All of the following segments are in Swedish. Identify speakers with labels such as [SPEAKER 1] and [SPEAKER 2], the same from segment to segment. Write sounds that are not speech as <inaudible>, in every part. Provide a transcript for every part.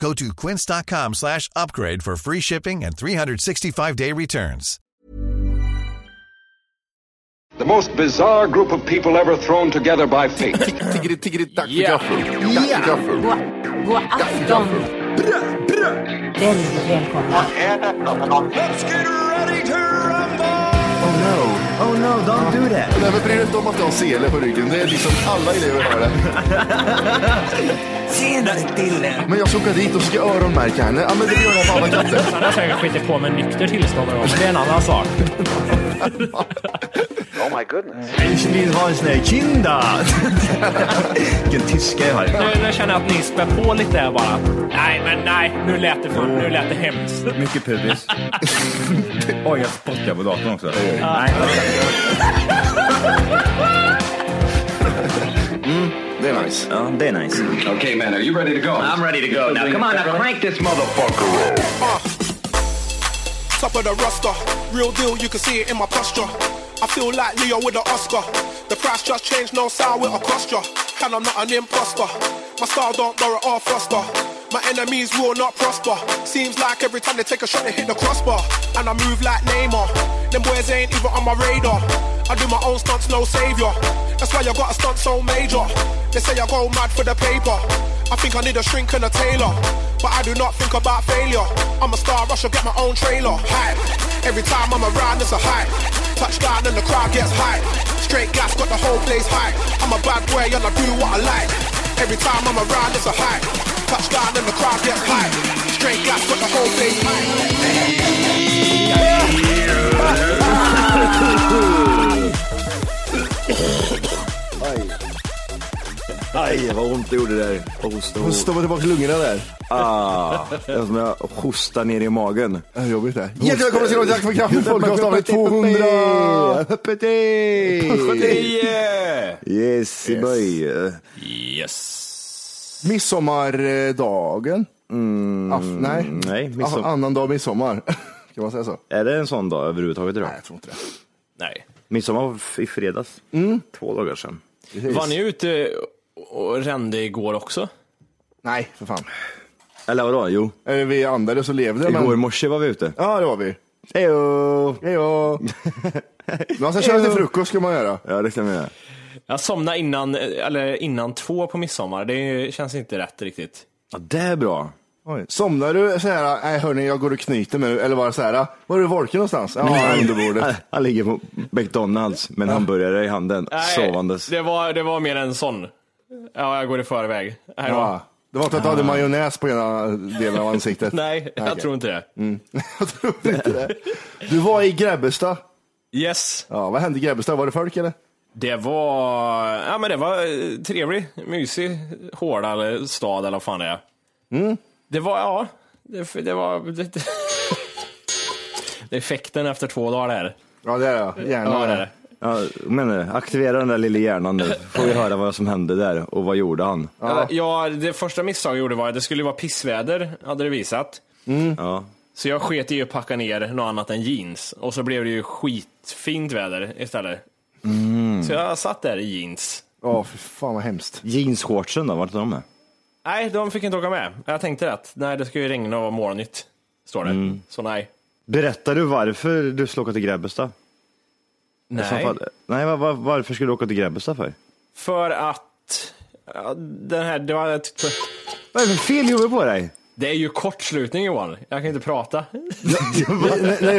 [SPEAKER 1] Go to quince.com slash upgrade for free shipping and 365-day returns.
[SPEAKER 2] The most bizarre group of people ever thrown together by
[SPEAKER 3] <laughs>
[SPEAKER 2] fate.
[SPEAKER 3] Tiggeri, tiggeri, tack för gaffel. Tack för gaffel.
[SPEAKER 4] God afton! Väldigt välkomna.
[SPEAKER 3] Oh no.
[SPEAKER 5] Oh no, don't do that.
[SPEAKER 3] Nej, men bry dig inte om att du har sele på ryggen. Det är liksom alla elever har det.
[SPEAKER 5] Tjenare Dille!
[SPEAKER 3] Men jag ska åka dit och ska öronmärka henne. Ja, men det gör jag på alla katter.
[SPEAKER 6] Han har säkert skitit på med nykter tillstånd någon gång, men det är en annan sak.
[SPEAKER 5] Ich vill ha en sån här kinda. Vilken tyska jag har.
[SPEAKER 6] Nu, nu känner jag att ni spär på lite här bara. Nej, men nej. Nu lät det, för, nu lät det hemskt.
[SPEAKER 7] Mycket
[SPEAKER 5] <laughs>
[SPEAKER 7] pubis. Oj, jag spottar på datorn också. Nej.
[SPEAKER 3] Det är nice.
[SPEAKER 7] Ja, det är nice.
[SPEAKER 2] okay, man, are you ready to go?
[SPEAKER 7] I'm ready to go. Now come on, now crank this motherfucker.
[SPEAKER 8] Top of the roster, real deal, you can see it in my posture. I feel like Leo with an Oscar. The price just changed, no sound with a cost ya. And I'm not an imposter. My style don't borrow or foster. My enemies will not prosper. Seems like every time they take a shot, they hit the crossbar. And I move like Neymar. Them boys ain't even on my radar. I do my own stunts, no savior. That's why I got a stunt so major. They say I go mad for the paper. I think I need a shrink and a tailor. But I do not think about failure. I'm a star, I should get my own trailer. Hype. Every time I'm around, it's a hype. Touchdown and the crowd gets hype. Straight gas got the whole place hype. I'm a bad boy and I do what I like. Every time I'm around, it's a hype. Touchdown and the crowd gets hype. Straight gas got the whole place hype.
[SPEAKER 5] Aj, vad ont det gjorde där. Hosta,
[SPEAKER 3] Hon stoppar tillbaka lungorna där.
[SPEAKER 5] Ah, det är som jag hostar ner i magen.
[SPEAKER 3] Det är jobbigt det. Hjärtligt välkomna till Tack för kaffet podcast avsnitt 200.
[SPEAKER 5] Huppeti! Yes,
[SPEAKER 3] Yes.
[SPEAKER 5] boy.
[SPEAKER 6] Yes.
[SPEAKER 3] Midsommardagen. Aff- nej,
[SPEAKER 5] nej, midsom-
[SPEAKER 3] Aff- annan dag midsommar. <laughs> Kan man säga så?
[SPEAKER 5] Är det en sån dag överhuvudtaget idag?
[SPEAKER 3] Nej, jag tror inte det.
[SPEAKER 6] Nej.
[SPEAKER 5] Midsommar var f- i fredags. Två dagar sedan.
[SPEAKER 6] Var ni ute och rände igår också?
[SPEAKER 3] Nej, för fan.
[SPEAKER 5] Eller vadå? Jo,
[SPEAKER 3] Eh, Vi andades och levde.
[SPEAKER 5] igår i
[SPEAKER 3] Men...
[SPEAKER 5] morse var vi ute.
[SPEAKER 3] Ja, det var vi.
[SPEAKER 5] Hejo!
[SPEAKER 3] Hej då. <laughs> Man ska köra lite frukost ska man göra.
[SPEAKER 5] Ja, det kan vi göra.
[SPEAKER 6] Jag somnade innan, eller innan två på midsommar. Det känns inte rätt riktigt.
[SPEAKER 5] Ja, det är bra.
[SPEAKER 3] Somnar du så här, nej hörni, jag går och knyter mig nu, eller bara så här, var är du valken någonstans? Ja, här under
[SPEAKER 5] <laughs> Han,
[SPEAKER 3] bordet.
[SPEAKER 5] han ligger på McDonalds med en hamburgare i handen, sovandes.
[SPEAKER 6] Det var, det var mer en sån. Ja, jag går i förväg. Hej då.
[SPEAKER 3] Ja. Det var inte att du hade majonnäs på ena delen av ansiktet.
[SPEAKER 6] <laughs> Nej, jag
[SPEAKER 3] Okej.
[SPEAKER 6] tror inte det.
[SPEAKER 3] Jag tror inte det. Du var i Grebbestad.
[SPEAKER 6] Yes,
[SPEAKER 3] Ja, vad hände i Grebbestad? Var det folk eller?
[SPEAKER 6] det var, ja, men det var eh, trevlig, mysig, hård eller stad eller vad fan det är. Det var, ja, det, det var... Det, <laughs> det, det är effekten efter två dagar där.
[SPEAKER 3] Ja, det är jag. Gärna.
[SPEAKER 6] Ja, det är det.
[SPEAKER 5] Ja, men eh, aktivera den där lilla hjärnan nu, får vi höra vad som hände där och vad gjorde han?
[SPEAKER 6] Ja. ja, det första misstaget jag gjorde var att det skulle vara pissväder, hade det visat. Mm.
[SPEAKER 5] Ja.
[SPEAKER 6] Så jag sket i att packa ner något annat än jeans. Och så blev det ju skitfint väder istället. Så jag satt där i jeans.
[SPEAKER 3] Ja, för fan vad hemskt.
[SPEAKER 5] Jeansshortsen då, vart är de med?
[SPEAKER 6] Nej, de fick inte åka med. Jag tänkte att nej, det ska ju regna och vara molnigt. Står det. Så nej.
[SPEAKER 5] Berättar du varför du skulle åka till Grebbestad?
[SPEAKER 6] Nej.
[SPEAKER 5] Nej, var, var, varför skulle du åka till Grebbestad för?
[SPEAKER 6] För att... ja, Den här, det var ett...
[SPEAKER 5] Vad är det för fel i huvudet på dig?
[SPEAKER 6] Det är ju kortslutning Johan. Jag kan inte prata.
[SPEAKER 3] nej, jag har
[SPEAKER 5] vi,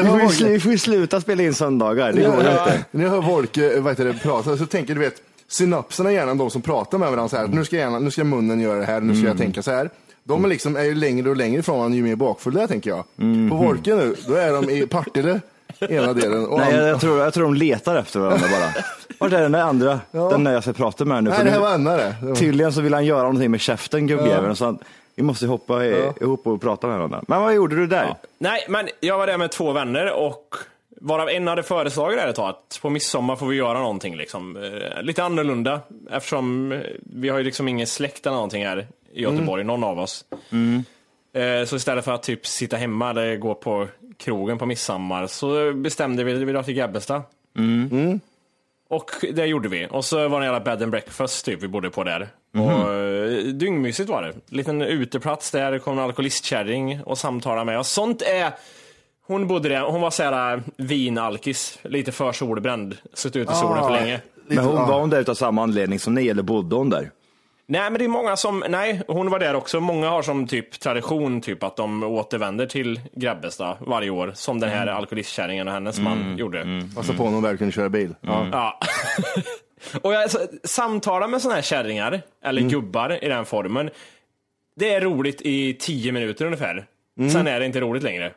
[SPEAKER 5] får ju,
[SPEAKER 3] varit-
[SPEAKER 5] slu- vi får ju sluta spela in söndagar, det går ju inte.
[SPEAKER 3] När jag hör Wolke vad heter det, prata så tänker du vet, synapserna i hjärnan, de som pratar med varandra så här, nu, ska hjärnan, nu ska munnen göra det här, nu ska jag
[SPEAKER 5] Mm.
[SPEAKER 3] tänka så här. De är, liksom, är ju längre och längre ifrån varandra ju mer bakfull det är, tänker jag.
[SPEAKER 5] Mm-hmm.
[SPEAKER 3] På Wolke nu, då är de i Partille ena delen. och
[SPEAKER 5] Nej, jag,
[SPEAKER 3] han-
[SPEAKER 5] jag, tror, jag tror de letar efter varandra
[SPEAKER 3] <laughs>
[SPEAKER 5] bara. Vart är den där andra? Den där jag ska prata med nu.
[SPEAKER 3] Nej,
[SPEAKER 5] För
[SPEAKER 3] det här
[SPEAKER 5] nu-
[SPEAKER 3] var annan det.
[SPEAKER 5] Tydligen så vill han göra någonting med käften, gubbjäveln.
[SPEAKER 6] Ja.
[SPEAKER 5] Så han, vi måste hoppa i,
[SPEAKER 6] Ja.
[SPEAKER 5] ihop och prata med varandra. Men vad gjorde du där?
[SPEAKER 6] Nej, men jag var där med två vänner och varav en hade föreslagit det här ett tag, att på midsommar får vi göra någonting liksom. Eh, Lite annorlunda eftersom eh, vi har ju liksom ingen släkt eller någonting här i Göteborg, någon av oss. Eh, Så istället för att typ sitta hemma eller gå på krogen på midsommar så bestämde vi att vi drar till Gabbestad. Och det gjorde vi. Och så var det en jävla bed and breakfast typ vi bodde på där. Och, eh, dyngmysigt var det. Liten uteplats där, det kom en alkoholistkärring och samtalade med oss. Sånt är... Hon bodde där, hon var såhär vinalkis, lite för solbränd, suttit ute i solen för länge.
[SPEAKER 5] Men hon var hon där utav samma anledning som ni, eller bodde hon där?
[SPEAKER 6] Nej, men det är många som, nej, hon var där också. Många har som typ tradition typ att de återvänder till Grebbestad varje år, som den här alkoholistkärringen och hennes man gjorde.
[SPEAKER 3] Passa på när de väl kunde köra bil.
[SPEAKER 5] Mm.
[SPEAKER 6] Ja. <laughs> och jag alltså, samtalar med såna här kärringar, eller gubbar i den formen. Det är roligt i tio minuter ungefär. Sen är det inte roligt längre.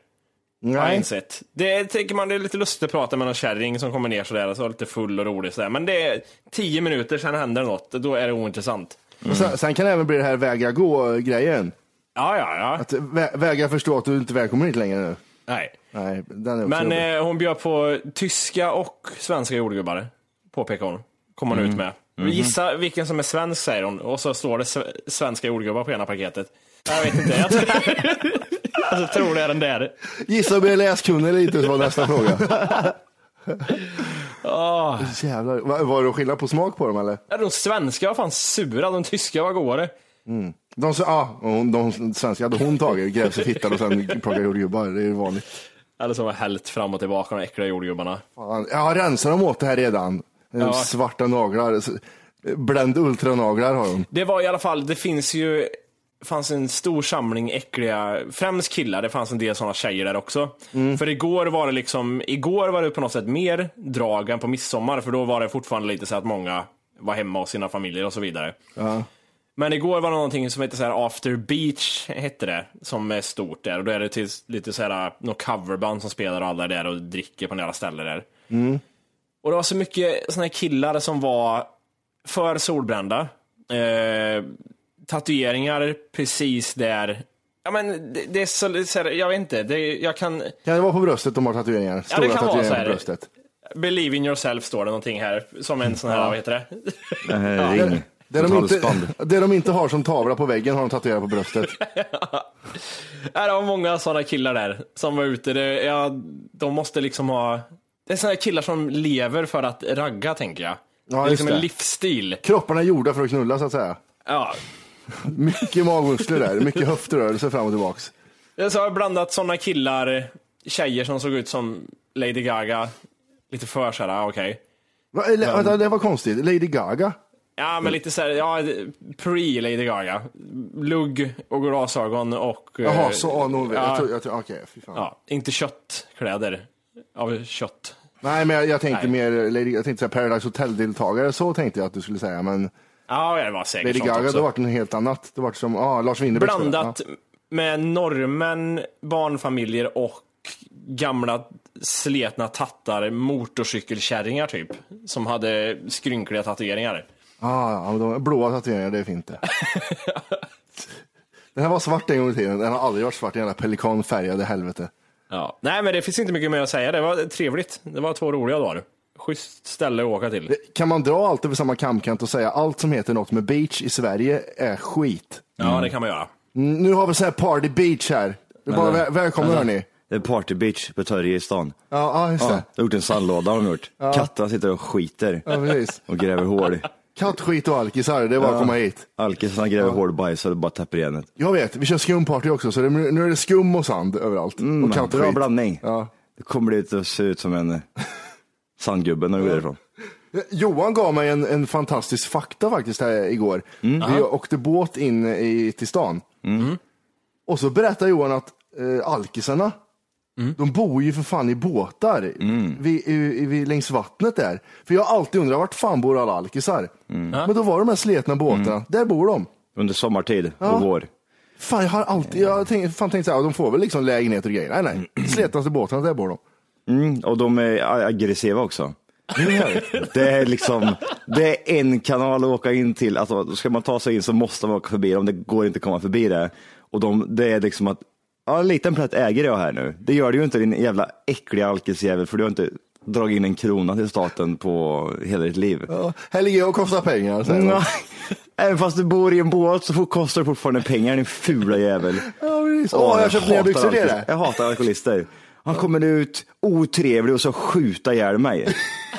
[SPEAKER 6] Har jag insett. Det tänker man, det är lite lustigt att prata med någon kärring som kommer ner sådär, så lite full och rolig sådär. Men det är tio minuter, sen händer något, då är det ointressant.
[SPEAKER 5] Mm.
[SPEAKER 3] Och sen, sen kan det även bli det här vägra gå-grejen.
[SPEAKER 6] Ja, ja, ja.
[SPEAKER 3] Att vä- vägra förstå att du inte är välkommen hit längre nu.
[SPEAKER 6] Nej.
[SPEAKER 3] Nej, den är också
[SPEAKER 6] Men
[SPEAKER 3] jobbig.
[SPEAKER 6] eh, hon bjöd på tyska och svenska jordgubbar, påpekar hon. Kommer hon ut med. Gissa vilken som är svensk, säger hon. Och så står det sve- svenska jordgubbar på ena paketet. Jag vet inte. Jag tror, <laughs> jag tror det är den där.
[SPEAKER 3] Gissa om jag är läskunnig eller inte, så var nästa
[SPEAKER 6] <laughs>
[SPEAKER 3] fråga.
[SPEAKER 6] Oh.
[SPEAKER 3] Jävlar, Va- var det skillnad på smak på dem eller?
[SPEAKER 6] De svenska var fan sura, de tyska var godare.
[SPEAKER 3] De, sa- ja, hon- de svenska hade hon tagit, grävs i fittan och sen plockade jordgubbar. Det är ju vanligt.
[SPEAKER 6] Eller så var hällt fram och tillbaka, de äckliga jordgubbarna.
[SPEAKER 3] Fan, Jag har rensat dem åt det här redan.
[SPEAKER 6] Ja.
[SPEAKER 3] Svarta naglar. s- Blend ultranaglar har de.
[SPEAKER 6] Det var i alla fall, det finns ju, fanns en stor samling äckliga, främst killar, det fanns en del sådana tjejer där också. För igår var det liksom, igår var det på något sätt mer drag än på midsommar, för då var det fortfarande lite så att många var hemma hos sina familjer och så vidare. Men igår var det någonting som heter så här After Beach, hette det, som är stort där. Och då är det till, lite så här, något coverband som spelar och alla är där och dricker på några ställen där. Och det var så mycket såna här killar som var för solbrända. Eh, tatueringar precis där. Ja men det, det är så, så här, jag vet inte, det, jag kan...
[SPEAKER 3] Kan det vara på bröstet de har tatueringar? Stora
[SPEAKER 6] kan vara så
[SPEAKER 3] tatueringar
[SPEAKER 6] här.
[SPEAKER 3] på bröstet.
[SPEAKER 6] Believe in yourself står det någonting här, som en sån här, vad heter det? <laughs>
[SPEAKER 5] Eh, Ring.
[SPEAKER 3] Mm. Det de,
[SPEAKER 5] Ett
[SPEAKER 3] inte,
[SPEAKER 5] halsband.
[SPEAKER 3] det de inte har som tavla på väggen har de tatuerat på bröstet.
[SPEAKER 6] Ja, det var många sådana killar där som var ute. Det, ja, de måste liksom ha... Det är sådana killar som lever för att ragga, tänker jag. det är
[SPEAKER 3] just
[SPEAKER 6] liksom en
[SPEAKER 3] det.
[SPEAKER 6] livsstil.
[SPEAKER 3] Kropparna är gjorda för att knulla så att säga.
[SPEAKER 6] Ja.
[SPEAKER 3] Mycket magmuskler där, mycket höftrörelser fram och tillbaks.
[SPEAKER 6] Så har jag blandat sådana killar, tjejer som såg ut som Lady Gaga. Lite för såhär, ja, okej.
[SPEAKER 3] Va, eller, vänta, det var konstigt. Lady
[SPEAKER 6] Eh,
[SPEAKER 3] Gaga.
[SPEAKER 6] Ja, men lite såhär, ja, pre-Lady Gaga. Lugg och glasögon och... eh,
[SPEAKER 3] Jaha, så, ja, nog, jag
[SPEAKER 6] ja,
[SPEAKER 3] tror, jag tror, okej, fy fan.
[SPEAKER 6] ja, inte köttkläder. Av kött.
[SPEAKER 3] Nej, men jag, jag tänkte
[SPEAKER 6] Nej.
[SPEAKER 3] mer, Lady, jag tänkte säga Paradise Hotel-deltagare, så tänkte jag att du skulle säga, men
[SPEAKER 6] Ja, det var säkert
[SPEAKER 3] Lady
[SPEAKER 6] sånt
[SPEAKER 3] Gaga,
[SPEAKER 6] också.
[SPEAKER 3] då vart det något helt annat. Det vart som, ah, Lars Winnerbäck. tror jag.
[SPEAKER 6] Blandat med norrmän, barnfamiljer och gamla sletna tattar, motorcykelkärringar typ. Som hade skrynkliga tatueringar.
[SPEAKER 3] Ja, ah, ja, men de blåa tatueringar, det är fint det.
[SPEAKER 6] <laughs>
[SPEAKER 3] den här var svart en gång i tiden, den har aldrig varit svart, jävla pelikanfärgade helvete.
[SPEAKER 6] Ja. Nej men det finns inte mycket mer att säga, det var trevligt. Det var två roliga dagar. Schysst ställe att åka till.
[SPEAKER 3] Kan man dra allt över samma kamkant och säga allt som heter något med beach i Sverige är skit?
[SPEAKER 6] Ja, det kan man göra.
[SPEAKER 3] Mm, Nu har vi så här party beach här. <laughs> Det är bara
[SPEAKER 5] Vänta.
[SPEAKER 3] väl, välkomna
[SPEAKER 5] Vänta.
[SPEAKER 3] hörni.
[SPEAKER 5] eh, Det är party beach på Törje i stan.
[SPEAKER 3] Ja, ja, just
[SPEAKER 5] Ja,
[SPEAKER 3] det.
[SPEAKER 5] de har gjort en sandlåda har de gjort.
[SPEAKER 3] Ja.
[SPEAKER 5] Katterna sitter och skiter
[SPEAKER 3] Ja, precis.
[SPEAKER 5] och gräver hål.
[SPEAKER 3] Kattskit och alkisar, det är bara att komma hit.
[SPEAKER 5] Alkisarna gräver hål, bajsar och bara täpper igen det.
[SPEAKER 3] Jag vet, vi kör skumparty också, så det, nu är det skum och sand överallt. och
[SPEAKER 5] Mm, bra
[SPEAKER 3] kattskit.
[SPEAKER 5] blandning.
[SPEAKER 3] Ja.
[SPEAKER 5] Då kommer det ut och se ut som en eh, sandgubbe när du går därifrån.
[SPEAKER 3] Johan gav mig en, en fantastisk
[SPEAKER 5] Mm.
[SPEAKER 3] fakta faktiskt här igår. Vi åkte båt in i, till stan. Och så berättar Johan att eh, alkisarna,
[SPEAKER 5] Mm.
[SPEAKER 3] de bor ju för fan i båtar vid, i, i, längs vattnet där. För jag har alltid undrat, vart fan bor alla alkisar?
[SPEAKER 5] Mm.
[SPEAKER 3] Men då var de här sletna båtarna, där bor de.
[SPEAKER 5] Under sommartid
[SPEAKER 3] Ja.
[SPEAKER 5] och vår.
[SPEAKER 3] Fan, jag har alltid jag har tänkt, fan tänkt så här, ja, de får väl liksom lägenheter och grejer. Nej, nej, sletnaste båtarna, där bor de.
[SPEAKER 5] Mm, och de är a- aggressiva också. Det är liksom, det är en kanal att åka in till. Alltså, ska man ta sig in så måste man åka förbi dem. Det går inte att komma förbi det. Och de, det är liksom att, ja en liten plätt äger jag här nu. Det gör du ju inte din jävla äckliga alkisjävel för du har inte dragit in en krona till staten på hela ditt liv.
[SPEAKER 3] Ja, här ligger jag och kostar pengar, säger de.
[SPEAKER 5] Nej. Även fast du bor i en båt så får- kostar det fortfarande pengar din fula jävel.
[SPEAKER 3] Ja, precis. Åh, jag har köpt nya
[SPEAKER 5] hatar
[SPEAKER 3] byxor till
[SPEAKER 5] alkis-
[SPEAKER 3] dig.
[SPEAKER 5] Jag hatar alkoholister. Han kommer ut otrevlig och så skjuta ihjäl mig.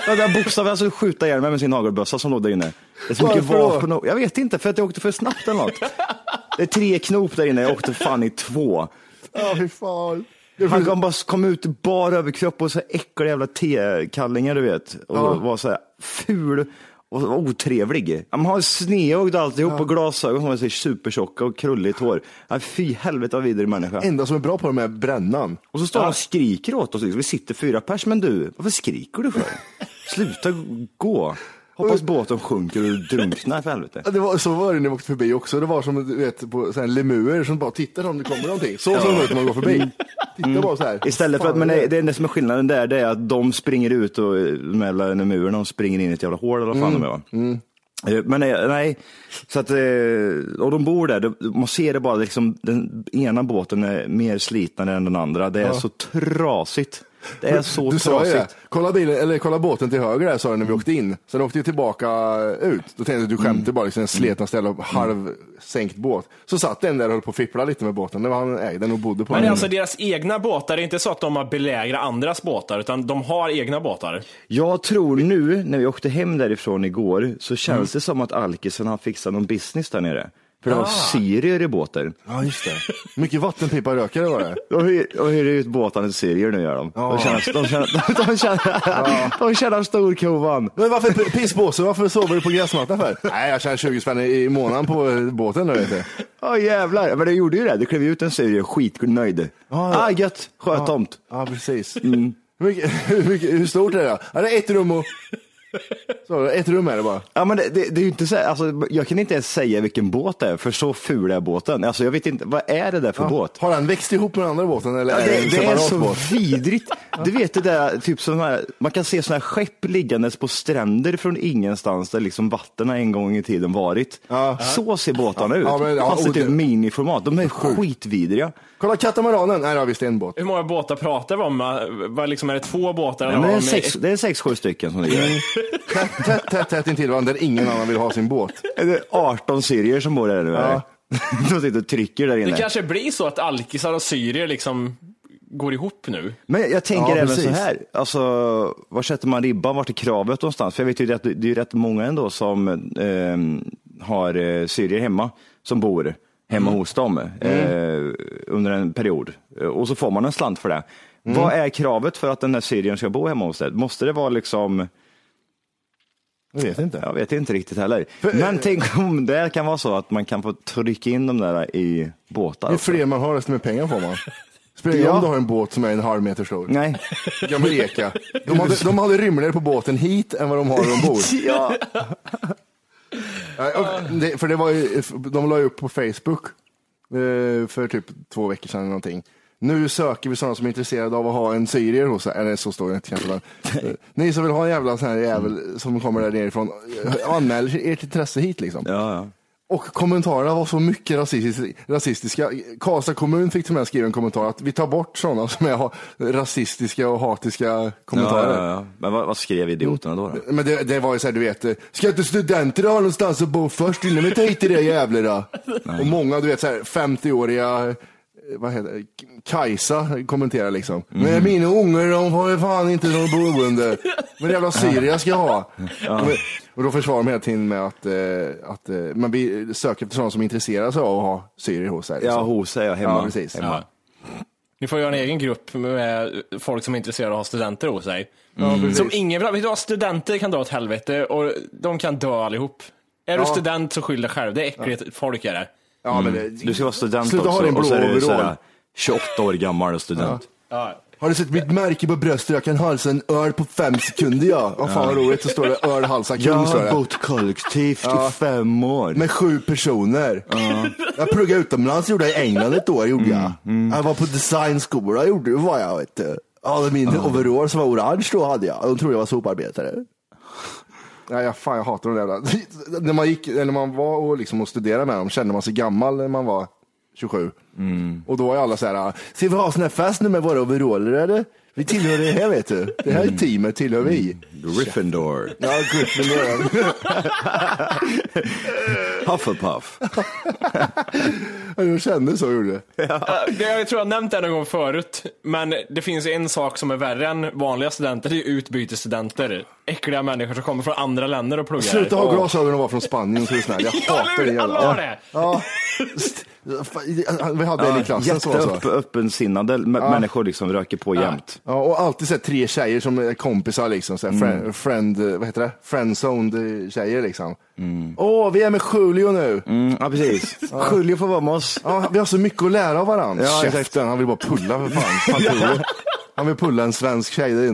[SPEAKER 5] Ja, det är bokstavligen alltså skjuta ihjäl mig med sin nagelbössa som låg där inne. Det är så mycket
[SPEAKER 3] Varför då?
[SPEAKER 5] vapen och, Jag vet inte, för att jag åkte för snabbt eller något. Det är tre knop där inne, jag åkte fan i två.
[SPEAKER 3] Ja, fy fan.
[SPEAKER 5] Han kom, bara, kom ut i bar överkropp och så här äckliga jävla tekallingar du vet. Och
[SPEAKER 3] Ja.
[SPEAKER 5] var så här ful och var otrevlig. Han har snedögd alltihop och glasögon som var så här supertjocka och krulligt hår. Ja, Fy helvete vad vidrig människa.
[SPEAKER 3] enda som är bra på dem är brännan.
[SPEAKER 5] Och så står han och skriker åt oss. liksom. Vi sitter fyra pers, men du, varför
[SPEAKER 3] <laughs>
[SPEAKER 5] skriker du för? Sluta gå. Hoppas båten sjunker och du drunknar för helvete.
[SPEAKER 3] Ja, Det var, så var det när vi åkte förbi också. Det var som du vet, på sån här lemurer som bara tittar om det kommer någonting. Så såg det ut när man går förbi. Titta bara så här.
[SPEAKER 5] Mm. Istället för att,
[SPEAKER 3] Fan,
[SPEAKER 5] men
[SPEAKER 3] det-
[SPEAKER 5] det, det enda som är skillnaden där, det är att de springer ut och de jävla murarna och springer in i ett jävla hål eller vad fan
[SPEAKER 3] Mm.
[SPEAKER 5] de är. va? Eh, Men nej, nej, så att, eh, och de bor där, de- man ser det bara, liksom, den ena båten är mer slitnare än den andra. Det är
[SPEAKER 3] Ja.
[SPEAKER 5] så trasigt. Det är så
[SPEAKER 3] du sa ju det.
[SPEAKER 5] trasigt.
[SPEAKER 3] Kolla, bilen, eller kolla båten till höger där sa du när vi åkte in. Sen åkte vi tillbaka ut. Då tänkte jag du skämtar bara, liksom en sleten ställe och halvsänkt båt. Så satt den där och höll på att fippla lite med båten. Det var han ägde den och bodde på
[SPEAKER 6] Men det
[SPEAKER 3] den.
[SPEAKER 6] är alltså deras egna båtar, det är inte så att de har belägrat andras båtar, utan de har egna båtar.
[SPEAKER 5] Jag tror nu, när vi åkte hem därifrån igår, så känns
[SPEAKER 3] Mm.
[SPEAKER 5] det som att alkisen har fixat någon business där nere. För det var
[SPEAKER 3] Ah.
[SPEAKER 5] syrier i båten.
[SPEAKER 3] Ja, just det. Mycket vattenpiparökare var det.
[SPEAKER 5] De hyr, de hyr ut båtarna till syrier nu gör de. De tjänar, de tjänar, de tjänar, de tjänar storkovan.
[SPEAKER 3] Men varför pissbåse? Varför sover du på gräsmattan för? Nej, jag tjänar 20 spänn i månaden på båten nu vet du.
[SPEAKER 5] Ja jävlar, men det gjorde ju det. Det klev ut en syrier skitnöjd.
[SPEAKER 3] ja.
[SPEAKER 5] Ah gött, sköt tomt.
[SPEAKER 3] Ja, precis.
[SPEAKER 5] Mm.
[SPEAKER 3] Hur, mycket, <laughs> hur, mycket, hur stort är det? då? Ja, det är ett rum och... Så, ett rum är det bara.
[SPEAKER 5] Ja, men det, det, det är ju inte så, här- alltså, jag kan inte ens säga vilken båt det är, för så ful är båten. Alltså, jag vet inte, vad är det där för
[SPEAKER 3] Ja.
[SPEAKER 5] båt?
[SPEAKER 3] Har den växt ihop med den andra båten eller är det en
[SPEAKER 5] Det, det är
[SPEAKER 3] separat
[SPEAKER 5] så
[SPEAKER 3] båt?
[SPEAKER 5] vidrigt. Du vet det där, typ sån här, man kan se sådana här skepp liggandes på stränder från ingenstans där liksom vatten har en gång i tiden varit. Så ser båtarna ut.
[SPEAKER 3] Ja, men- ja,
[SPEAKER 5] Fast i
[SPEAKER 3] och
[SPEAKER 5] typ
[SPEAKER 3] det-
[SPEAKER 5] miniformat. De är skitvidriga.
[SPEAKER 3] Kolla katamaranen. Nej, det har visst en båt.
[SPEAKER 6] Hur många båtar pratar vi om? Vad liksom, är det två båtar?
[SPEAKER 5] Nej, men det, är
[SPEAKER 6] Om-
[SPEAKER 5] sex, det är sex, sju stycken som ligger.
[SPEAKER 6] Mm.
[SPEAKER 3] Tätt, tätt, tätt, tätt intill varandra där ingen annan vill ha sin båt.
[SPEAKER 5] Det är 18 syrier som bor där nu. eller? <laughs> De sitter och trycker där
[SPEAKER 6] Det
[SPEAKER 5] inne.
[SPEAKER 6] kanske blir så att alkisar och syrier liksom går ihop nu.
[SPEAKER 5] Men jag
[SPEAKER 3] Ja,
[SPEAKER 5] tänker även
[SPEAKER 3] precis.
[SPEAKER 5] så här, alltså, var sätter man ribban? Vart är kravet någonstans? För jag vet ju att det det är ju rätt många ändå som eh, har eh, syrier hemma, som bor hemma
[SPEAKER 3] Mm.
[SPEAKER 5] hos dem eh, under en period. Eh, Och så får man en slant för det.
[SPEAKER 3] Mm.
[SPEAKER 5] Vad är kravet för att den här syrien ska bo hemma hos dig? Måste det vara liksom,
[SPEAKER 3] Jag vet inte.
[SPEAKER 5] jag vet inte riktigt heller. Men tänk om det kan vara så att man kan få trycka in dem där i båtar.
[SPEAKER 3] Ju
[SPEAKER 5] också.
[SPEAKER 3] fler man har, desto mer pengar får man. Spelar ingen roll om du har en båt som är en halv meter stor.
[SPEAKER 5] Nej.
[SPEAKER 3] Gammal eka. De hade, de hade rymligare på båten hit än vad de har ombord.
[SPEAKER 5] Ja.
[SPEAKER 3] Nej, och det, för det var ju, de la ju upp på Facebook eh, för typ två veckor sedan eller någonting. Nu söker vi sådana som är intresserade av att ha en syrier hos sig. Eller så står det inte kanske. men, eh, Ni som vill ha en jävla sån här jävel som kommer där nerifrån, eh, anmäl ert intresse hit liksom.
[SPEAKER 5] Ja, ja.
[SPEAKER 3] Och kommentarerna var så mycket rasistis- rasistiska. Karlstad kommun fick till och med skriva en kommentar att vi tar bort sådana som är ha- rasistiska och hatiska kommentarer.
[SPEAKER 5] Ja, ja, ja. Men vad, vad skrev idioterna då? då?
[SPEAKER 3] Men det, det var ju så här, du vet, eh, ska inte studenter ha någonstans att bo först innan vi tar hit det jävlar då? Och många, du vet, så här 50-åriga, eh, vad heter det, K- Kajsa kommenterar liksom.
[SPEAKER 5] Mm.
[SPEAKER 3] Men mina ungar, de har ju fan inte någon boende. Men jävla Syria ska jag ha. Men- Och då försvarar de hela tiden med att, eh, att eh, man blir- söker efter sådana som intresserar sig av att ha syrier hos sig.
[SPEAKER 5] Ja,
[SPEAKER 3] liksom.
[SPEAKER 5] hos är jag hemma.
[SPEAKER 3] Ja, precis.
[SPEAKER 5] Hemma.
[SPEAKER 6] Ja. Ni får göra en egen grupp med folk som är intresserade av att ha studenter hos sig.
[SPEAKER 5] Mm.
[SPEAKER 3] precis.
[SPEAKER 6] Som ingen vill ha. Vet du vad? Studenter kan dra åt helvete och de kan dö allihop. Är du student så skyll dig själv. Det är äckligt folk är det.
[SPEAKER 3] Ja, men det-
[SPEAKER 5] Du ska vara student
[SPEAKER 3] Sluta ha
[SPEAKER 5] också.
[SPEAKER 3] din
[SPEAKER 5] och så är
[SPEAKER 3] blå
[SPEAKER 5] du så här
[SPEAKER 3] overall.
[SPEAKER 5] 28 år gammal och student.
[SPEAKER 3] Har du sett mitt märke på bröstet? Jag kan halsa en öl på fem sekunder ja. Vad fan vad roligt, så står det öl halsa kung.
[SPEAKER 5] Jag
[SPEAKER 3] står
[SPEAKER 5] har
[SPEAKER 3] det.
[SPEAKER 5] bott kollektivt
[SPEAKER 3] Ja.
[SPEAKER 5] i fem år.
[SPEAKER 3] Med sju personer. Jag pluggade utomlands gjorde jag i England ett år. Gjorde jag. jag var på designskola gjorde var jag. Vet du. Ja, min overall som var orange då hade jag. De trodde jag var soparbetare. Nej, jag, fan, jag hatar de där jävla- när man, gick, eller när man var och, liksom, och studerade med dem kände man sig gammal när man var 27. Och då var ju alla så här, ska vi ha sån här fest nu med våra overaller eller? Vi tillhör det här vet du. Det här teamet tillhör vi.
[SPEAKER 5] Gryffindor.
[SPEAKER 3] Ja, Gryffindor. <laughs> <laughs>
[SPEAKER 5] Hufflepuff.
[SPEAKER 3] Ja, Jag kände så gjorde det.
[SPEAKER 6] Eh, det- Jag tror jag nämnt det någon gång förut, men det finns en sak som är värre än vanliga studenter, det är ju utbytesstudenter. Äckliga människor som kommer från andra länder och pluggar.
[SPEAKER 3] Sluta ha
[SPEAKER 6] Och-
[SPEAKER 3] glasögon och vara från Spanien så är du snäll. Jag
[SPEAKER 6] <laughs> Ja,
[SPEAKER 3] hatar
[SPEAKER 6] eller
[SPEAKER 3] det
[SPEAKER 6] hur? Alla har det!
[SPEAKER 3] Ja. Fan, Vi hade en i klassen som var så.
[SPEAKER 5] Jätteöpp, öppensinnade m- människor liksom röker på jämt.
[SPEAKER 3] Ja, och alltid så här, tre tjejer som är kompisar liksom. Så här,
[SPEAKER 6] Mm.
[SPEAKER 3] friend, friend, vad heter det? Friendzoned eh, tjejer liksom. Åh,
[SPEAKER 6] Mm.
[SPEAKER 3] vi är med Julio nu.
[SPEAKER 5] Mm,
[SPEAKER 3] <laughs>
[SPEAKER 5] ja, precis. Julio får vara med oss.
[SPEAKER 3] Ja, vi har så mycket att lära av varandra.
[SPEAKER 5] Ja, exakt.
[SPEAKER 3] Käften, han vill bara pulla för
[SPEAKER 6] <laughs>
[SPEAKER 3] fan. Han, Julio. han vill pulla en svensk tjej. Det är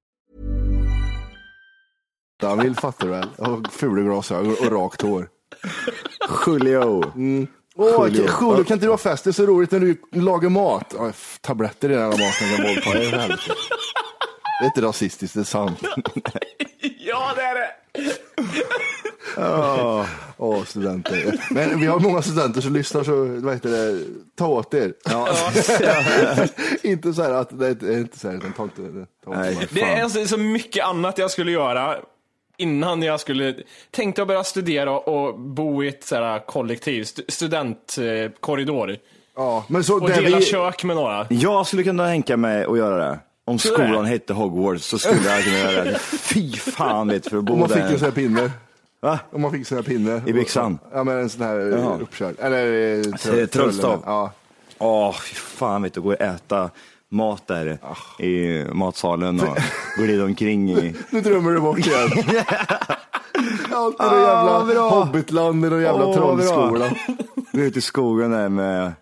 [SPEAKER 3] inte han vill, fattar du väl? Och fula glasögon och rakt hår.
[SPEAKER 5] Julio.
[SPEAKER 3] Mm. Åh,
[SPEAKER 5] Julio.
[SPEAKER 3] Julio. Julio, kan inte du ha fest? Det är så roligt när du lagar mat. Åh, f- tabletter i den här maten kan våldta dig. för helvete. Det är inte rasistiskt, det är sant.
[SPEAKER 6] Ja, det är det!
[SPEAKER 3] Åh, studenter. Men vi har många studenter som lyssnar, så vad heter det, ta åt er. <laughs> inte så här att, nej, det är inte så här, utan ta inte, ta åt er.
[SPEAKER 6] Det är alltså så, så mycket annat jag skulle göra innan jag skulle... Tänkte jag börja studera och bo i ett så här, kollektiv, st- studentkorridor.
[SPEAKER 3] Ja, men så
[SPEAKER 6] och
[SPEAKER 5] där
[SPEAKER 6] dela
[SPEAKER 5] vi-
[SPEAKER 6] kök med några.
[SPEAKER 5] Jag skulle kunna tänka mig att göra det. Om
[SPEAKER 6] Skulle du
[SPEAKER 5] skolan
[SPEAKER 6] det?
[SPEAKER 5] hette Hogwarts så skulle jag kunna göra <laughs> det. Fy fan vet du, för att bo
[SPEAKER 3] Om man fick
[SPEAKER 5] där.
[SPEAKER 3] en sån här pinne. Om man fick en sån här pinne.
[SPEAKER 5] I byxan?
[SPEAKER 3] Ja, men en sån här
[SPEAKER 5] Jaha.
[SPEAKER 3] uppkörd. Eller eh,
[SPEAKER 5] Alltså,
[SPEAKER 3] trö-
[SPEAKER 5] Trollstav.
[SPEAKER 3] Ja.
[SPEAKER 5] Åh, fy fan vet du, gå och äta mat där i matsalen och glida omkring i...
[SPEAKER 3] Nu drömmer
[SPEAKER 5] <laughs>
[SPEAKER 3] du bort igen. Allt i det
[SPEAKER 5] Ah,
[SPEAKER 3] jävla
[SPEAKER 5] bra.
[SPEAKER 3] hobbitlandet och <laughs> jävla
[SPEAKER 5] Åh, vad bra.
[SPEAKER 3] trollskolan.
[SPEAKER 5] Gå ut i skogen där med...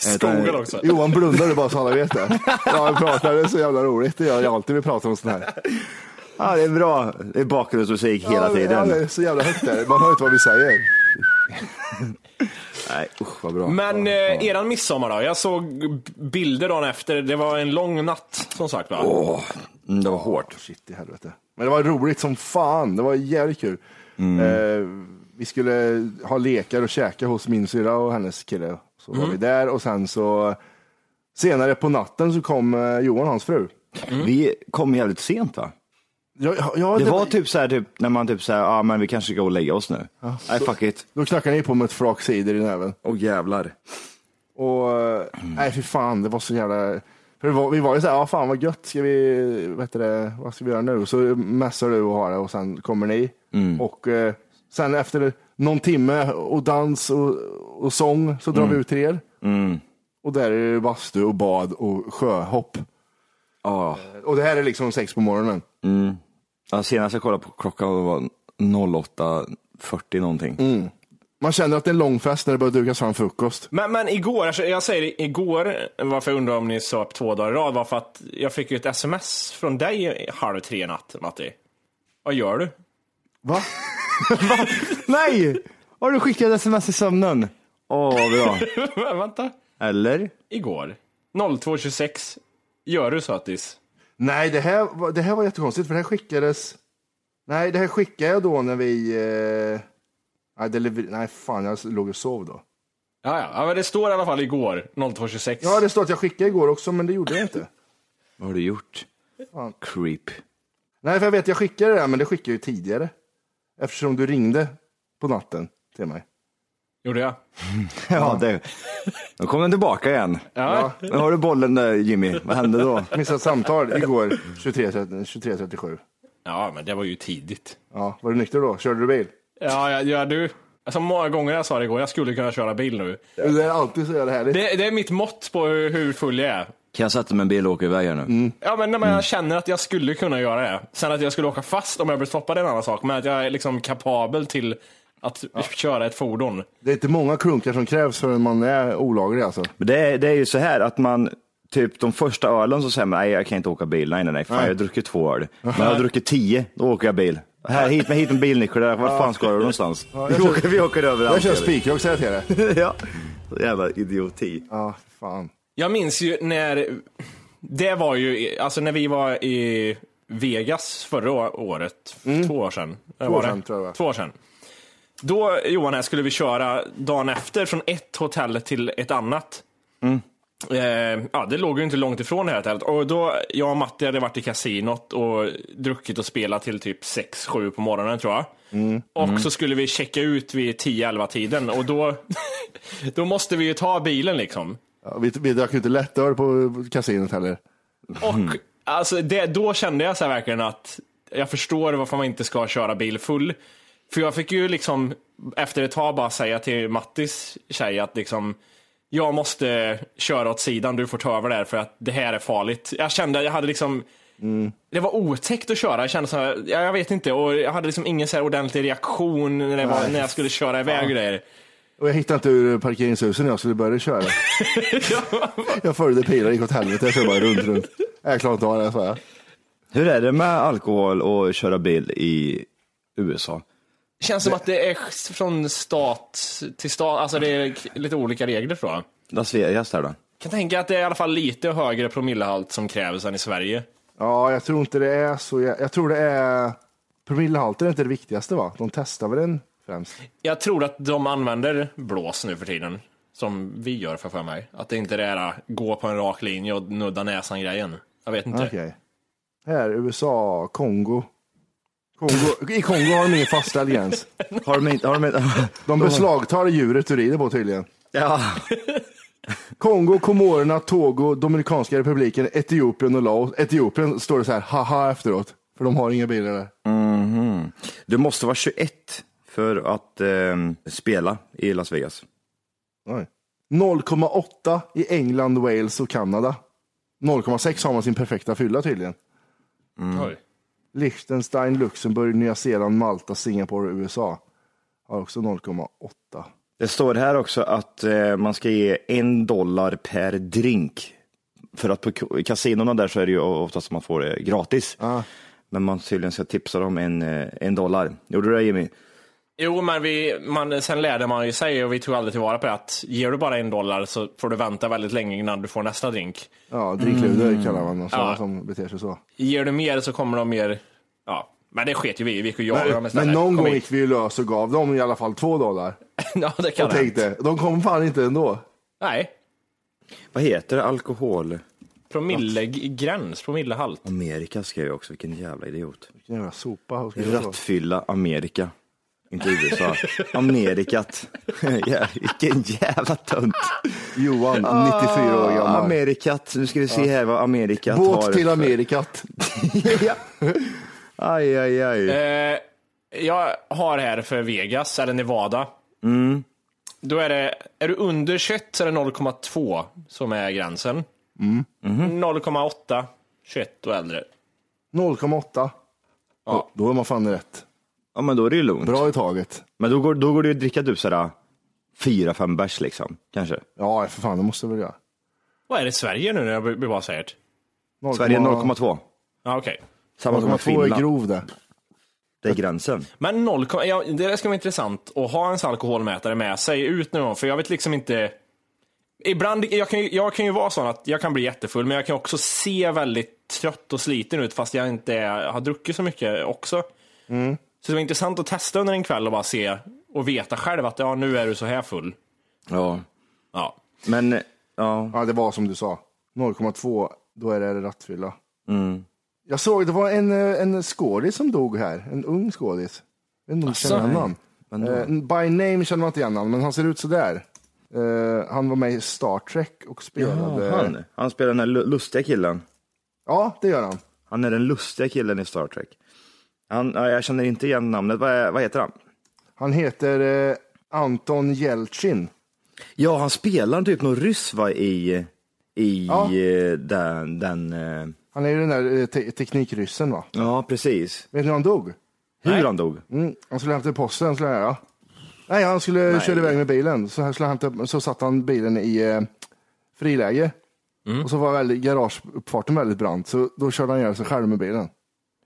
[SPEAKER 6] Skogen också.
[SPEAKER 3] Johan blundade bara så alla vet det. Ja, vi pratar, det är så jävla roligt. Det gör jag alltid när vi pratar om sånt här.
[SPEAKER 5] Ja, det är bra. Det är bakgrundsmusik hela
[SPEAKER 3] Ja, Ja, det
[SPEAKER 5] tiden.
[SPEAKER 3] är så jävla högt där. Man hör inte vad vi säger.
[SPEAKER 5] Nej, usch vad bra.
[SPEAKER 6] Men eh, eran midsommar då? Jag såg b- bilder dagen efter. Det var en lång natt som sagt va?
[SPEAKER 5] Åh, mm, det var hårt.
[SPEAKER 3] Shit i helvete. Men det var roligt som fan. Det var jävligt kul.
[SPEAKER 5] Mm.
[SPEAKER 3] Eh, vi skulle ha lekar och käka hos min syrra och hennes kille. Så var vi
[SPEAKER 5] Mm.
[SPEAKER 3] där och sen så senare på natten så kom eh, Johan och hans fru.
[SPEAKER 5] Vi kom jävligt sent va?
[SPEAKER 3] Ja, ja, ja,
[SPEAKER 5] det, var typ så här, typ, när man typ så här, ja ah, men vi kanske ska gå och lägga oss nu. Nej, fuck it.
[SPEAKER 3] Då knackade ni på med ett flak cider i näven.
[SPEAKER 5] Åh jävlar.
[SPEAKER 3] Och eh, nej, fy fan, det var så jävla... För det var, vi var ju såhär, ja fan vad gött, ska vi, vad, heter det, vad ska vi göra nu? Så mässar du och har det och sen kommer ni. Och eh, sen efter någon timme och dans och, och sång så drar vi ut till er. Och där är det bastu och bad och sjöhopp.
[SPEAKER 5] Ja.
[SPEAKER 3] Och det här är liksom sex på morgonen.
[SPEAKER 5] Mm. Ja, senast jag kollade på klockan det var 08.40 någonting.
[SPEAKER 3] Man känner att det är en lång fest när det börjar dukas fram frukost.
[SPEAKER 6] Men, men igår, alltså, jag säger igår, varför jag undrar om ni söp två dagar i rad var för att jag fick ju ett sms från dig halv tre
[SPEAKER 5] <laughs>
[SPEAKER 6] i natt, Matti. Vad gör du?
[SPEAKER 3] Va?
[SPEAKER 5] Nej! Har du skickat sms i sömnen? Åh, vad bra.
[SPEAKER 6] <laughs> Vänta.
[SPEAKER 5] Eller?
[SPEAKER 6] Igår. 02.26. Gör du sötis?
[SPEAKER 3] Nej, det här, var- det här var jättekonstigt för det här skickades. Nej, det här skickade jag då när vi. Eh... Nej, det lever... Nej, fan, jag låg och sov då.
[SPEAKER 6] Ja, ja. ja, men det står i alla fall igår. 02.26.
[SPEAKER 3] Ja, det står att jag skickade igår också, men det gjorde jag inte.
[SPEAKER 5] Vad har du gjort?
[SPEAKER 3] Fan.
[SPEAKER 5] Creep.
[SPEAKER 3] Nej, för jag vet, jag skickade det där, men det skickade jag ju tidigare. Eftersom du ringde på natten till mig.
[SPEAKER 6] Gjorde jag?
[SPEAKER 5] Ja, det. Då kom den tillbaka igen.
[SPEAKER 6] Ja.
[SPEAKER 5] Nu har du bollen där Jimmy. Vad hände då?
[SPEAKER 3] Missat samtal igår 23.37. 23,
[SPEAKER 6] Ja, men det var ju tidigt.
[SPEAKER 3] ja, var du nykter då? Körde du bil?
[SPEAKER 6] Ja, ja, ja du. Alltså många gånger jag sa det igår, jag skulle kunna köra bil nu.
[SPEAKER 3] Det är alltid så jävla härligt.
[SPEAKER 6] Det, det är mitt mått på hur, hur full jag är.
[SPEAKER 5] Kan jag sätta mig i en bil och åka iväg här nu?
[SPEAKER 6] Ja, men när man känner att jag skulle kunna göra det. Sen att jag skulle åka fast om jag blev stoppad är en annan sak, men att jag är liksom kapabel till att köra ett fordon.
[SPEAKER 3] Det är inte många klunkar som krävs förrän man är olaglig alltså.
[SPEAKER 5] Men det, är, det är ju så här att man, typ de första ölen så säger man, nej jag kan inte åka bil, nej nej nej, fan
[SPEAKER 3] Nej.
[SPEAKER 5] jag har druckit två öl. Men jag har druckit tio, då åker jag bil. Här, hit med, hit med bilnyckel, där. vart fan ska du någonstans?
[SPEAKER 3] Ja,
[SPEAKER 5] vi, åker, vi åker överallt.
[SPEAKER 3] Jag kör
[SPEAKER 5] gör vi.
[SPEAKER 3] spikrock, säger jag till dig.
[SPEAKER 5] <laughs> ja. Så Jävla idioti.
[SPEAKER 3] Ja, fan.
[SPEAKER 6] Jag minns ju när, det var ju, alltså när vi var i Vegas förra å- året, två år sedan. Två
[SPEAKER 3] Mm. år sedan, tror jag det var.
[SPEAKER 6] Två år sedan. Då, Johan, här skulle vi köra dagen efter från ett hotell till ett annat.
[SPEAKER 3] Mm.
[SPEAKER 6] Eh, ja, det låg ju inte långt ifrån det här hotellet. Och då, jag och Matti hade varit i kasinot och druckit och spelat till typ 6-7 på morgonen tror jag.
[SPEAKER 3] Mm.
[SPEAKER 6] Och så skulle vi checka ut vid 10-11 tiden och då, <laughs> då måste vi ju ta bilen liksom.
[SPEAKER 3] Ja, vi, vi drack ju inte lättöl på kasinot heller.
[SPEAKER 6] Och alltså, det, då kände jag så här verkligen att jag förstår varför man inte ska köra bil full. För jag fick ju liksom efter ett tag bara säga till Mattis tjej att liksom jag måste köra åt sidan, du får ta över där för att det här är farligt. Jag kände, jag hade liksom det var otäckt att köra. Jag kände så här, ja, jag vet inte och jag hade liksom ingen så här ordentlig reaktion när, det var,
[SPEAKER 3] Nej.
[SPEAKER 6] när jag skulle köra iväg och grejer.
[SPEAKER 3] Och jag hittade inte ur parkeringshusen när jag skulle börja köra. jag följde pilar, gick åt helvete. Jag körde bara runt, runt. Jag klarar inte av det här, sa jag.
[SPEAKER 5] Hur är det med alkohol och köra bil i USA?
[SPEAKER 6] Känns som att det är från stat till stat, alltså det är lite olika regler tror jag.
[SPEAKER 5] Las Vegas där då?
[SPEAKER 6] kan tänka att det är i alla fall lite högre promillehalt som krävs än i Sverige.
[SPEAKER 3] Ja, jag tror inte det är så. Jag, jag tror det är promillehalten är inte det viktigaste va? De testar väl den främst?
[SPEAKER 6] Jag tror att de använder blås nu för tiden, som vi gör för för mig. Att det inte är det här äh, gå på en rak linje och nudda näsan-grejen. Jag vet inte.
[SPEAKER 3] Okej. Här, USA, Kongo. Kongo. I Kongo har de ingen fastställd gräns.
[SPEAKER 5] Har de inte, har de inte, <laughs>
[SPEAKER 3] De beslagtar djuret du rider på tydligen.
[SPEAKER 5] Ja.
[SPEAKER 3] Kongo, Komorerna, Togo, Dominikanska republiken, Etiopien och Laos. Etiopien står det så här, haha efteråt. För de har inga bilar där.
[SPEAKER 5] Mhm. Du måste vara 21 för att ehm, spela i Las Vegas.
[SPEAKER 3] Oj. 0,8 i England, Wales och Kanada. 0,6 har man sin perfekta fylla tydligen. Mm.
[SPEAKER 6] Oj.
[SPEAKER 3] Liechtenstein, Luxemburg, Nya Zeeland, Malta, Singapore och USA har också 0,8.
[SPEAKER 5] Det står här också att eh, man ska ge en dollar per drink. För att på k- kasinona där så är det ju oftast man får det gratis. Men man tydligen ska tipsa dem en, eh, en dollar. Gjorde du det Jimmy?
[SPEAKER 6] Jo, men vi, man, sen lärde man ju sig och vi tog aldrig tillvara på det att ger du bara en dollar så får du vänta väldigt länge innan du får nästa drink.
[SPEAKER 3] Ja, drickluder kallar man och sådana
[SPEAKER 6] Mm. Ja.
[SPEAKER 3] som beter sig så.
[SPEAKER 6] Ger du mer så kommer de mer, ja. Men det sket ju vi i, vi gick och jagade dem
[SPEAKER 3] Men,
[SPEAKER 6] istället.
[SPEAKER 3] men någon
[SPEAKER 6] Kom
[SPEAKER 3] gång
[SPEAKER 6] hit.
[SPEAKER 3] gick vi ju lös och gav dem i alla fall två dollar.
[SPEAKER 6] <laughs> ja, det kan
[SPEAKER 3] Och
[SPEAKER 6] det.
[SPEAKER 3] tänkte, de kom fan inte ändå.
[SPEAKER 6] Nej,
[SPEAKER 5] Vad heter det? Alkohol?
[SPEAKER 6] promillegräns, promillehalt.
[SPEAKER 5] Amerika skrev jag också, vilken jävla idiot.
[SPEAKER 3] Vilken jävla sopa. och skriva så.
[SPEAKER 5] Rattfylla Amerika. Inte USA. Amerikat. <laughs> Ja, vilken jävla tönt.
[SPEAKER 3] Johan, 94 år
[SPEAKER 5] Ah,
[SPEAKER 3] gammal.
[SPEAKER 5] Amerikat. Nu ska vi se här vad Amerikat har.
[SPEAKER 3] Båt till
[SPEAKER 5] för-
[SPEAKER 3] Amerikat.
[SPEAKER 5] <laughs> ja. Aj, aj, aj.
[SPEAKER 6] Eh, jag har här för Vegas, eller Nevada.
[SPEAKER 5] Mm.
[SPEAKER 6] Då är det, är du under 21 så är det 0,2 som är gränsen. Mm. 0,8, 21 och äldre.
[SPEAKER 3] 0,8.
[SPEAKER 6] Ja.
[SPEAKER 3] Då är man fan rätt.
[SPEAKER 5] Ja, men då är det ju lugnt.
[SPEAKER 3] Bra i taget.
[SPEAKER 5] Men då går, då går det ju att dricka typ sådär fyra, fem bärs liksom, kanske.
[SPEAKER 3] Ja, för fan, det måste jag väl göra.
[SPEAKER 6] Vad är det i Sverige nu när jag blir bara säger det?
[SPEAKER 5] Sverige 0,2.
[SPEAKER 6] Ja, okej.
[SPEAKER 5] Samma som med
[SPEAKER 3] 0,2 är
[SPEAKER 5] Finland.
[SPEAKER 3] grov det.
[SPEAKER 5] Det är gränsen.
[SPEAKER 6] Men noll, ja, det ska vara intressant att ha en sån alkoholmätare med sig ut någon gång, för jag vet liksom inte. Ibland, jag kan, ju, jag kan ju vara sån att jag kan bli jättefull, men jag kan också se väldigt trött och sliten ut fast jag inte är, har druckit så mycket också.
[SPEAKER 3] Mm.
[SPEAKER 6] Så det var intressant att testa under en kväll och bara se och veta själv att ja, nu är du så här full.
[SPEAKER 5] Ja.
[SPEAKER 6] Ja.
[SPEAKER 5] Men, ja.
[SPEAKER 3] Ja, det var som du sa. 0,2, då är det rattfylla.
[SPEAKER 5] Mm.
[SPEAKER 3] Jag såg, det var en, eh, en skådis som dog här. En ung skådis. Jag vet inte om du
[SPEAKER 5] Asså?
[SPEAKER 3] känner honom.
[SPEAKER 5] Men då-
[SPEAKER 3] Eh, by name känner man inte igen honom, men han ser ut sådär. Eh, han var med i Star Trek och spelade...
[SPEAKER 5] Ja, han, han spelar den här lu- lustiga killen.
[SPEAKER 3] Ja, det gör han.
[SPEAKER 5] Han är den lustiga killen i Star Trek. Han, ja, jag känner inte igen namnet. Vad, är- vad heter han?
[SPEAKER 3] Han heter eh, Anton Jeltsin.
[SPEAKER 5] Ja, han spelar typ någon ryss va, i, i
[SPEAKER 3] Ja.
[SPEAKER 5] eh, den... den eh,
[SPEAKER 3] Han är ju den där eh, te- teknikryssen va?
[SPEAKER 5] ja, precis.
[SPEAKER 3] Vet ni hur han dog?
[SPEAKER 5] Hur han dog?
[SPEAKER 3] Mm, han skulle hämta posten, skulle han göra. Nej, han skulle
[SPEAKER 5] Nej.
[SPEAKER 3] köra iväg med bilen. Så, här skulle han hämta, så satt han bilen i eh, friläge.
[SPEAKER 5] Mm.
[SPEAKER 3] Och så var väldigt, garageuppfarten väldigt brant, så då körde han ihjäl sig själv med bilen.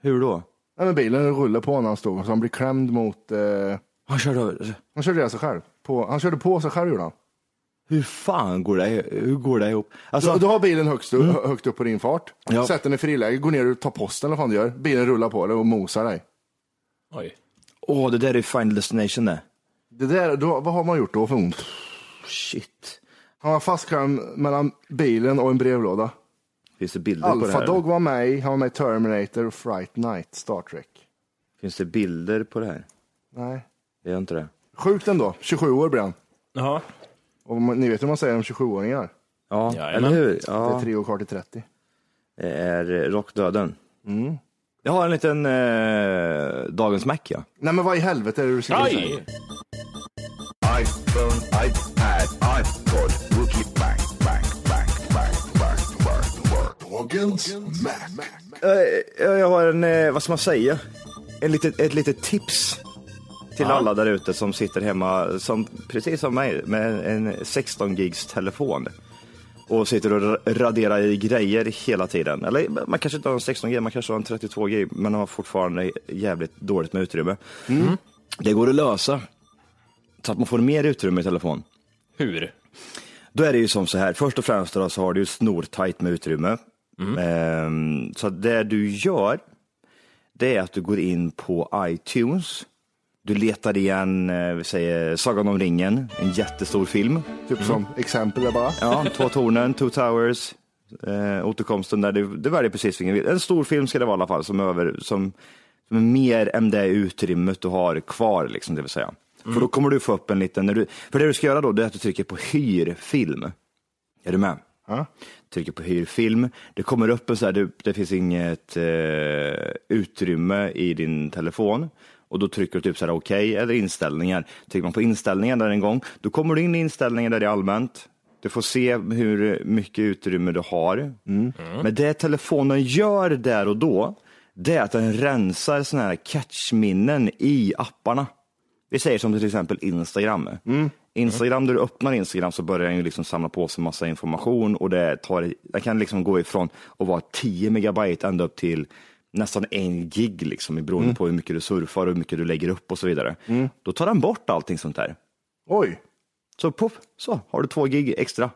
[SPEAKER 5] Hur då?
[SPEAKER 3] Nej, men bilen rullade på när han stod, så han blev klämd mot... Eh,
[SPEAKER 5] han körde
[SPEAKER 3] Han körde ihjäl sig själv. På, han körde på sig själv gjorde han.
[SPEAKER 5] Hur fan går det, hur går det ihop? Alltså-
[SPEAKER 3] du, du har bilen högst, hö- högt upp på din fart,
[SPEAKER 5] Mm. Ja.
[SPEAKER 3] sätter den i friläge, går ner och tar posten eller vad fan du gör. Bilen rullar på dig och mosar dig.
[SPEAKER 6] Oj.
[SPEAKER 5] Åh, det där är ju Final Destination det.
[SPEAKER 3] Det där, då, vad har man gjort då för ont?
[SPEAKER 5] Shit.
[SPEAKER 3] Han var fastklämd mellan bilen och en brevlåda.
[SPEAKER 5] Finns det bilder på det
[SPEAKER 3] Alpha
[SPEAKER 5] här?
[SPEAKER 3] Dog var med i, han var med i Terminator och Fright Night, Star Trek.
[SPEAKER 5] Finns det bilder på det här?
[SPEAKER 3] Nej.
[SPEAKER 5] Det gör inte det.
[SPEAKER 3] Sjukt ändå, 27 år blev han.
[SPEAKER 6] Jaha.
[SPEAKER 3] Och man, ni vet hur man säger om 27-åringar?
[SPEAKER 5] Ja,
[SPEAKER 3] Jajamän.
[SPEAKER 5] eller hur?
[SPEAKER 3] Det är
[SPEAKER 5] Ja.
[SPEAKER 3] tre år kvar till 30.
[SPEAKER 5] Det är eh, Rockdöden.
[SPEAKER 3] Mm.
[SPEAKER 5] Jag har en liten eh, Dagens Mac ja.
[SPEAKER 3] Nej men vad i helvete är det du ska säga?
[SPEAKER 9] iPhone, iPad, iPod, rookie bang, bang, bang, bang, bang, bang, bang. Dagens Mac.
[SPEAKER 5] Eh, Jag har en, eh, vad ska man säga? En litet, ett litet tips till alla där ute som sitter hemma, som, precis som mig, med en 16 gigs telefon. Och sitter och ra- raderar i grejer hela tiden. Eller man kanske inte har en 16 gig, man kanske har en 32 gig, men har fortfarande jävligt dåligt med utrymme. Det går att lösa. Så att man får mer utrymme i telefon.
[SPEAKER 6] Hur?
[SPEAKER 5] Då är det ju som så här, först och främst då, så har du ju snortajt med utrymme. Ehm, så att det du gör, det är att du går in på iTunes. Du letar igen, eh, vi säger Sagan om ringen, en jättestor film.
[SPEAKER 3] Typ som exempel där bara.
[SPEAKER 5] Ja, Två tornen, Two Towers, eh, återkomsten där, du, du väljer precis vilken En stor film ska det vara i alla fall, som, över, som, som är mer än det utrymmet du har kvar, liksom, det vill säga. För då kommer du få upp en liten, när du, för det du ska göra då, det är att du trycker på hyr film. Är du med? Trycker på hyr film. Det kommer upp en så här, det, det finns inget eh, utrymme i din telefon. Och då trycker du typ så här okej eller inställningar. Trycker man på inställningar där en gång, då kommer du in i inställningar där det är allmänt. Du får se hur mycket utrymme du har. Mm. Men det telefonen gör där och då, det är att den rensar sådana här catchminnen i apparna. Vi säger som till exempel Instagram. Instagram, när du öppnar Instagram så börjar den ju liksom samla på sig massa information och det, tar, det kan liksom gå ifrån att vara 10 megabyte ända upp till nästan en gig liksom, i beroende
[SPEAKER 3] Mm.
[SPEAKER 5] på hur mycket du surfar och hur mycket du lägger upp och så vidare. Då tar den bort allting sånt där.
[SPEAKER 3] Oj,
[SPEAKER 5] Så poff, så har du två gig extra.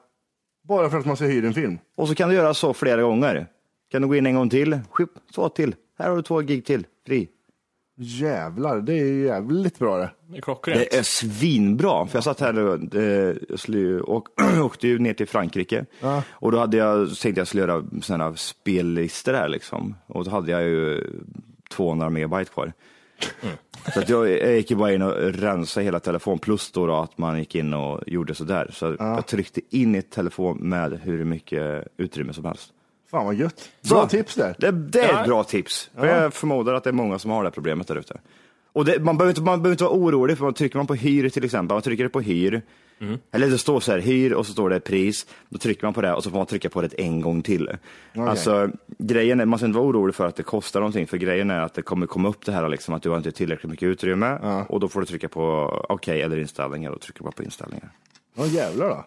[SPEAKER 3] bara för att man ska hyra en film.
[SPEAKER 5] Och så kan du göra så flera gånger. Kan du gå in en gång till, skip, så till. Här har du två gig till, fri.
[SPEAKER 3] Jävlar, det är ju jävligt bra det.
[SPEAKER 6] Det är klockrent.
[SPEAKER 5] Det är svinbra, för jag satt här och, eh, jag skulle ju- och <clears throat> åkte ju ner till Frankrike.
[SPEAKER 3] Ja.
[SPEAKER 5] Och då hade jag, tänkte jag skulle göra sådana här spellistor här liksom. Och då hade jag ju 200 megabyte kvar. Så att jag, jag gick ju bara in och rensade hela telefonen, plus då, då att man gick in och gjorde sådär. Så jag tryckte in i telefon med hur mycket utrymme som helst.
[SPEAKER 3] Fan vad gött. Bra tips där.
[SPEAKER 5] Det, det är ett bra tips. För jag förmodar att det är många som har det här problemet där ute. Och det, man, behöver inte, man behöver inte vara orolig, för man trycker man på hyr till exempel, man trycker på hyr, eller det står så här hyr och så står det pris, då trycker man på det och så får man trycka på det en gång till. Alltså grejen är, man ska inte vara orolig för att det kostar någonting, för grejen är att det kommer komma upp det här liksom, att du har inte tillräckligt mycket utrymme och då får du trycka på okej eller inställningar och trycker bara på inställningar.
[SPEAKER 3] Ja jävlar då.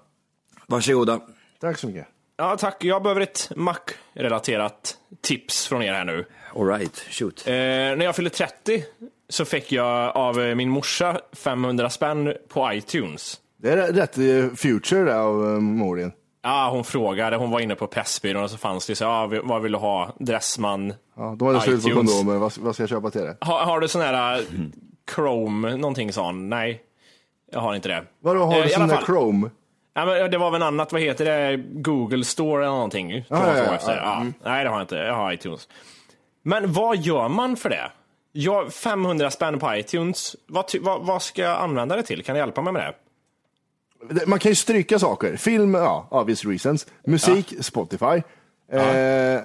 [SPEAKER 5] Varsågoda.
[SPEAKER 3] Tack så mycket.
[SPEAKER 6] Ja, tack. Jag behöver ett Mac-relaterat tips från er här nu.
[SPEAKER 5] All right, shoot.
[SPEAKER 6] Eh, när jag Eh, fyllde 30 så fick jag av eh, min morsa 500 spänn på iTunes.
[SPEAKER 3] Det är rätt eh, future det av eh, Morin.
[SPEAKER 6] Ja, hon frågade, hon var inne på Pressbyrån och så fanns det så, ja, vi- vad vill du ha? Dressman,
[SPEAKER 3] Ja, de hade slut på
[SPEAKER 6] iTunes.
[SPEAKER 3] kondomer, vad, vad ska jag köpa till det?
[SPEAKER 6] Har, har du sån här eh, Chrome, någonting sån? Nej, jag har inte det.
[SPEAKER 3] Vadå, har
[SPEAKER 6] Eh,
[SPEAKER 3] du
[SPEAKER 6] i alla
[SPEAKER 3] sån där
[SPEAKER 6] fall.
[SPEAKER 3] Chrome?
[SPEAKER 6] Ja, men det var väl annat, vad heter det, Google Store eller någonting?
[SPEAKER 3] Ja,
[SPEAKER 6] tror jag
[SPEAKER 3] ja,
[SPEAKER 6] det var
[SPEAKER 3] ja,
[SPEAKER 6] efter.
[SPEAKER 3] ja,
[SPEAKER 6] Ja, Nej, det har jag inte. Jag har iTunes. Men vad gör man för det? Jag, 500 spänn på iTunes, vad, ty- vad, vad ska jag använda det till? Kan du hjälpa mig med det?
[SPEAKER 3] Det- Man kan ju stryka saker. Film, ja, obvious reasons. Musik, Spotify. Eh,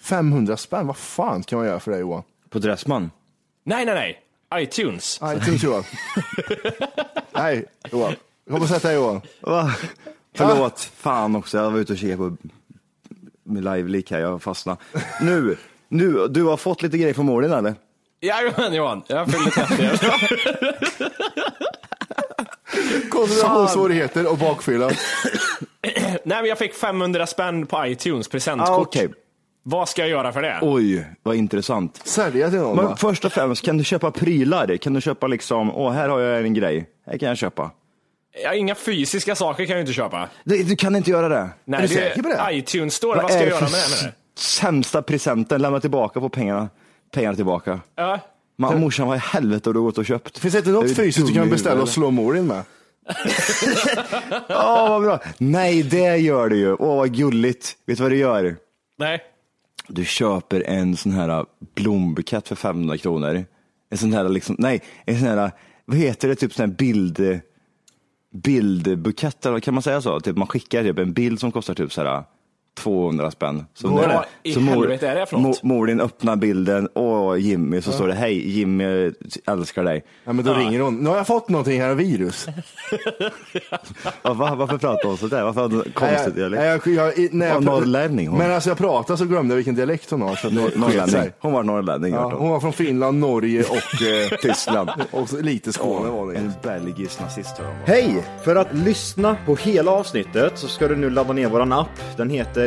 [SPEAKER 3] 500 spänn, vad fan kan man göra för det Johan?
[SPEAKER 5] På Dressman?
[SPEAKER 6] Nej, nej, nej. iTunes.
[SPEAKER 3] iTunes <laughs> Johan. Nej, Johan. Kom och sätt dig Johan.
[SPEAKER 5] Va? Förlåt, fan också. Jag var ute och kikade på med live-leak här, jag fastnade. Nu, nu, du har fått lite grejer från Morin eller?
[SPEAKER 6] Jajamän Johan, jag fyllde 30.
[SPEAKER 3] Koncentrationssvårigheter och bakfylla.
[SPEAKER 6] <laughs> nej, men jag fick 500 spänn på iTunes presentkort.
[SPEAKER 5] Ah, okej.
[SPEAKER 6] Vad ska jag göra för det?
[SPEAKER 5] Oj, vad intressant.
[SPEAKER 3] Sälja till någon
[SPEAKER 5] Men
[SPEAKER 3] va?
[SPEAKER 5] först och främst, kan du köpa prylar? Kan du köpa liksom, åh här har jag en grej, här kan jag köpa.
[SPEAKER 6] Ja, inga fysiska saker kan jag ju inte köpa.
[SPEAKER 5] Du, du kan inte göra det.
[SPEAKER 6] Nej,
[SPEAKER 5] är du
[SPEAKER 6] det
[SPEAKER 5] säker på det? eh,
[SPEAKER 6] iTunes Store, vad ska jag
[SPEAKER 5] är det
[SPEAKER 6] göra med
[SPEAKER 5] för
[SPEAKER 6] det? Med det?
[SPEAKER 5] Sämsta presenten, lämna tillbaka på pengarna. Pengarna tillbaka.
[SPEAKER 6] Ja.
[SPEAKER 5] Man, morsan, vad i helvete har du gått och köpt?
[SPEAKER 3] Finns det inte något fysiskt du kan beställa och slå Morin med?
[SPEAKER 5] Ja, vad bra. Nej, det gör du ju. Åh, vad gulligt. Vet du vad du gör?
[SPEAKER 6] Nej.
[SPEAKER 5] Du köper en sån här äh, blombukett för 500 kronor. En sån här, liksom, nej, en sån här, vad heter det, typ sån här bild, bildbukett, eller kan man säga så? Typ man skickar typ en bild som kostar typ så här 200 spänn. Så
[SPEAKER 6] Vad
[SPEAKER 5] när-
[SPEAKER 6] i
[SPEAKER 5] så mor-
[SPEAKER 6] helvete är det för något?
[SPEAKER 5] mo- Morin öppnar bilden, åh Jimmy, så står det, hej Jimmy älskar dig.
[SPEAKER 3] Ja, men då ringer hon. Nu har jag fått någonting här, <laughs> virus.
[SPEAKER 5] Ja, va, varför pratar hon sådär? Varför har hon konstigt
[SPEAKER 3] Nej, jag-
[SPEAKER 5] dialekt?
[SPEAKER 3] nej, jag- jag- när jag-
[SPEAKER 5] Hon var norrlänning hon.
[SPEAKER 3] Men alltså jag pratade så glömde jag vilken dialekt hon har. Så att det sket
[SPEAKER 5] norrlänning.
[SPEAKER 3] sig.
[SPEAKER 5] Hon var norrlänning.
[SPEAKER 3] Ja,
[SPEAKER 5] hört om.
[SPEAKER 3] hon var från Finland, Norge och eh, <laughs>
[SPEAKER 5] Tyskland.
[SPEAKER 3] Och så lite Skåne var det.
[SPEAKER 5] En belgisk nazist tror jag hon var.
[SPEAKER 10] Hej! För att lyssna på hela avsnittet så ska du nu ladda ner våran app. Den heter